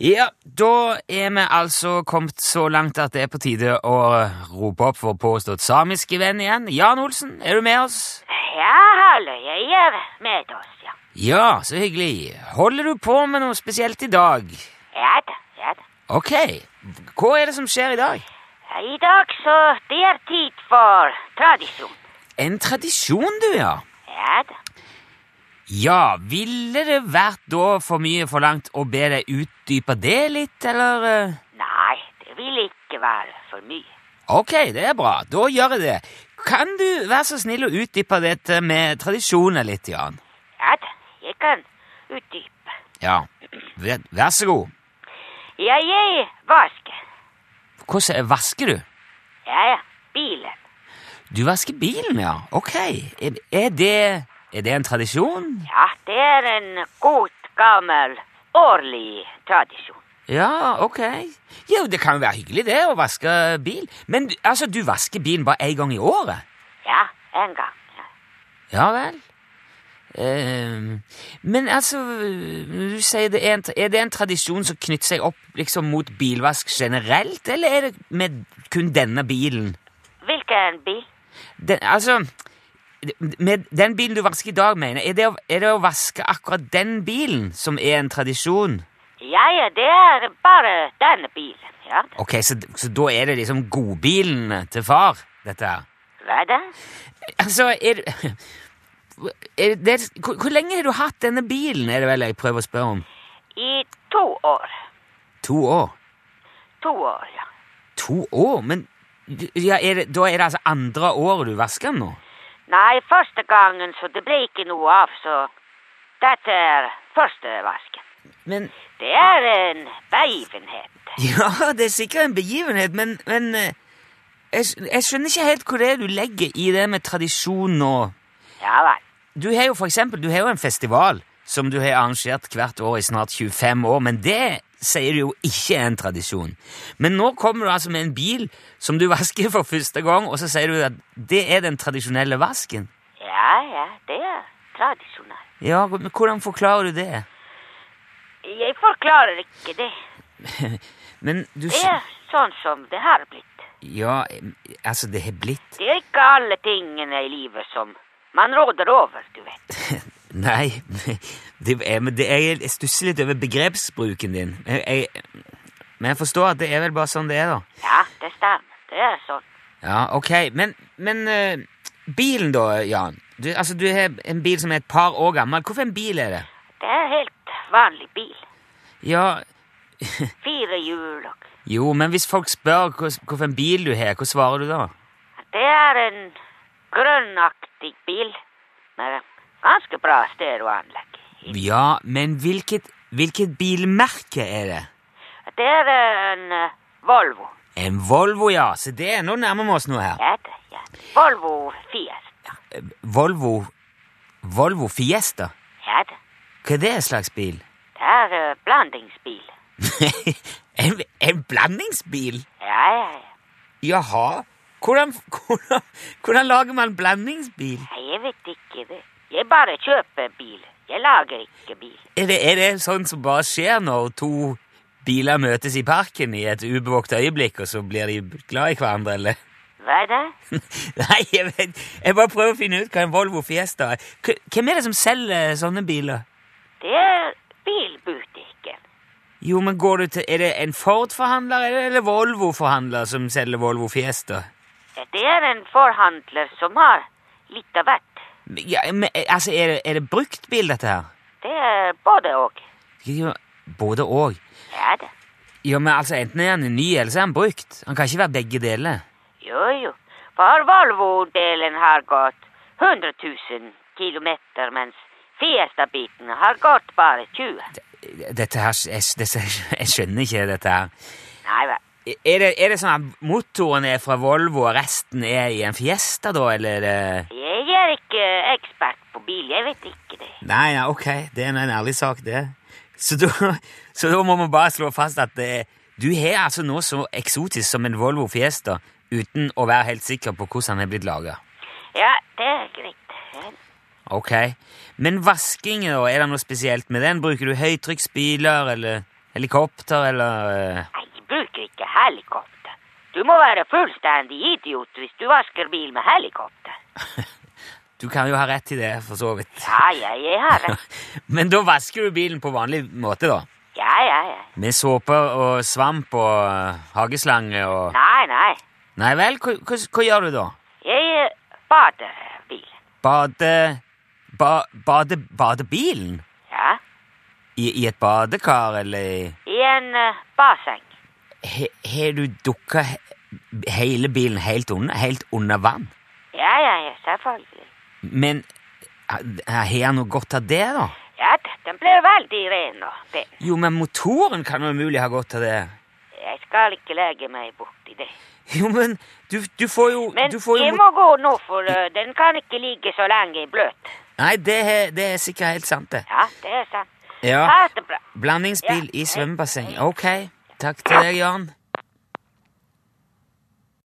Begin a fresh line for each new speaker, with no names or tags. Ja, da er vi altså kommet så langt at det er på tide å rope opp vår påstått samiske venn igjen. Jan Olsen, er du med oss?
Ja, hallo, jeg er med oss, ja.
Ja, så hyggelig. Holder du på med noe spesielt i dag?
Ja da, ja da.
Ok, hva er det som skjer i dag?
I dag så det er tid for tradisjon.
En tradisjon, du, ja.
Ja da.
Ja, ville det vært da for mye forlangt å be deg utdype det litt, eller? eh?
Nei, det vil ikke være for mye.
Ok, det er bra. Da gjør jeg det. Kan du være så snill å utdype dette med tradisjoner litt, Jan?
Ja da, jeg kan utdype.
Ja, vær, vær så god.
Ja, jeg vasker.
Hvordan vasker du?
Ja, ja, bilen.
Du vasker bilen, ja. Ok. Er, er, det, er det en tradisjon?
Ja, det er en god, gammel, årlig tradisjon.
Ja, ok. Jo, det kan jo være hyggelig det, å vaske bil. Men du- altså, du vasker bilen bare én gang i året?
Ja, en gang. Ja.
Ja vel. Ehm, men altså, du sier det er, en, tra- er det en tradisjon som knytter seg opp liksom mot bilvask generelt, eller er det med kun denne bilen?
Hvilken bil?
Den, altså, med den bilen du vasker i dag, mener jeg, er det, å- er det å vaske akkurat den bilen som er en tradisjon?
Ja, ja, det er bare denne bilen, ja.
Ok, så, så da er det liksom godbilen til far, dette her?
Hva da?
Altså, er, er det, hvor, hvor lenge har du hatt denne bilen, er det vel jeg prøver å spørre om?
I to år.
To år.
To år, ja.
To år? Men ja, er det, da er det altså andre året du vasker den nå?
Nei, første gangen, så det ble ikke noe av, så dette er første vasken.
Men
Det er en begivenhet.
Ja, det er sikkert en begivenhet, men, men eh, jeg, skj- jeg skjønner ikke helt hva det er du legger i det med tradisjon nå.
Ja vel.
Du har jo for eksempel du har jo en festival som du har arrangert hvert år i snart 25 år, men det sier du jo ikke er en tradisjon. Men nå kommer du altså med en bil som du vasker for første gang, og så sier du at det er den tradisjonelle vasken.
Ja, ja, det er tradisjonelt.
Ja, men hvordan forklarer du det?
Jeg forklarer ikke det.
Men du
Det
skj-
er sånn som det har blitt.
Ja, em, altså, det har blitt
Det er ikke alle tingene i livet som man råder over, du vet.
Nei, det er, men det er, jeg stusser litt over begrepsbruken din. Jeg, jeg, men jeg forstår at det er vel bare sånn det er, da.
Ja, det stemmer. Det er sånn.
Ja, ok, Men, men eh, bilen, da, Jan? Du, altså, du har en bil som er et par år gammel. Hvorfor en bil er det?
Det er en helt vanlig bil.
Ja,
Fire hjul og
Jo, men hvis folk spør hvorfor en bil du har, hva svarer du da?
Det er en grønnaktig bil med ganske bra stereoanlegg.
Ja, men hvilket, hvilket bilmerke er det?
Det er en eh, Volvo.
En Volvo, ja. Så det er nå nærmer vi oss noe her. Eh,
Ja, det, ja. Volvo Fiesta.
Volvo Volvo Fiesta?
Ja, det,
Hva er det slags bil?
det er eh, blandingsbil.
en, en blandingsbil?
Ja, ja, ja.
Jaha. Hvordan, hvordan, hvordan lager man blandingsbil?
Nei, Jeg vet ikke det. Jeg bare kjøper bil. Jeg lager ikke bil.
Er det, er det sånn som bare skjer når to biler møtes i parken i et ubevåkt øyeblikk, og så blir de glad i hverandre, eller?
Hva er det?
Nei, jeg vet Jeg bare prøver å finne ut hva en Volvo Fiesta er. K- Hvem er det som selger sånne biler?
Det er bilbutikken.
Jo, men går du til Er det en Ford-forhandler eller- eller Volvo-forhandler som selger Volvo Fiesta?
Det er en forhandler som har litt av hvert.
Ja, men, altså, er det, er det bruktbil, dette her?
Det er både og.
Ja, Både og.
Ja da.
Ja, men altså, Enten er han ny, eller så er han brukt. Han kan ikke være begge deler.
Jo, jo. For Volvo-delen har gått 100 000 kilometer, mens Fiesta-biten har gått bare 20.
Dette her, jeg, dette, jeg skjønner ikke dette her.
Nei vel.
Er det, er det sånn at motoren er fra Volvo, og resten er i en Fiesta, da, eller eh? er det
Jeg er ikke ekspert på bil, jeg vet ikke det.
Nei, ja, ok, det er nå en ærlig sak, det. Så da, så da må vi bare slå fast at det, du har altså noe så eksotisk som en Volvo Fiesta, uten å være helt sikker på hvordan den er blitt laga.
Ja, det er greit. Ja.
Ok. Men vasking, da? Er det noe spesielt med den? Bruker du høytrykksbiler, eller Helikopter eller eh,
Nei, jeg bruker ikke helikopter. Du må være fullstendig idiot hvis du vasker bil med helikopter.
Du kan jo ha rett i det, for så vidt.
Ja, ja, jeg har det.
Men da vasker du bilen på vanlig måte, da?
Ja, ja, ja.
Med såpe og svamp og eh, hageslange og
Nei, nei.
Nei vel, hva, hva, hva gjør du da?
Jeg eh, bader bilen.
Bade... Ba, bade... Badebilen?
Ja.
I, I et badekar, eller i-
I en eh, basseng.
He- Har du dukka hele bilen helt under, helt under vann?
Ja, ja, ja, selvfølgelig.
Men eh, har han noe godt av det, da?
Ja, da, den blir veldig ren og pen.
Jo, men motoren kan jo umulig ha godt av det.
Jeg skal ikke legge meg borti det.
Jo, men du, du får jo
Men
du får jo
jeg
mot-
må gå nå, for eh, den kan ikke ligge så lenge i bløt.
Nei, det, er- det er sikkert helt sant, det.
Ja, det er sant.
Ja.
Ha det bra.
Blandingsbil
Ja.
i svømmebasseng. Ok. Takk til deg, Jan.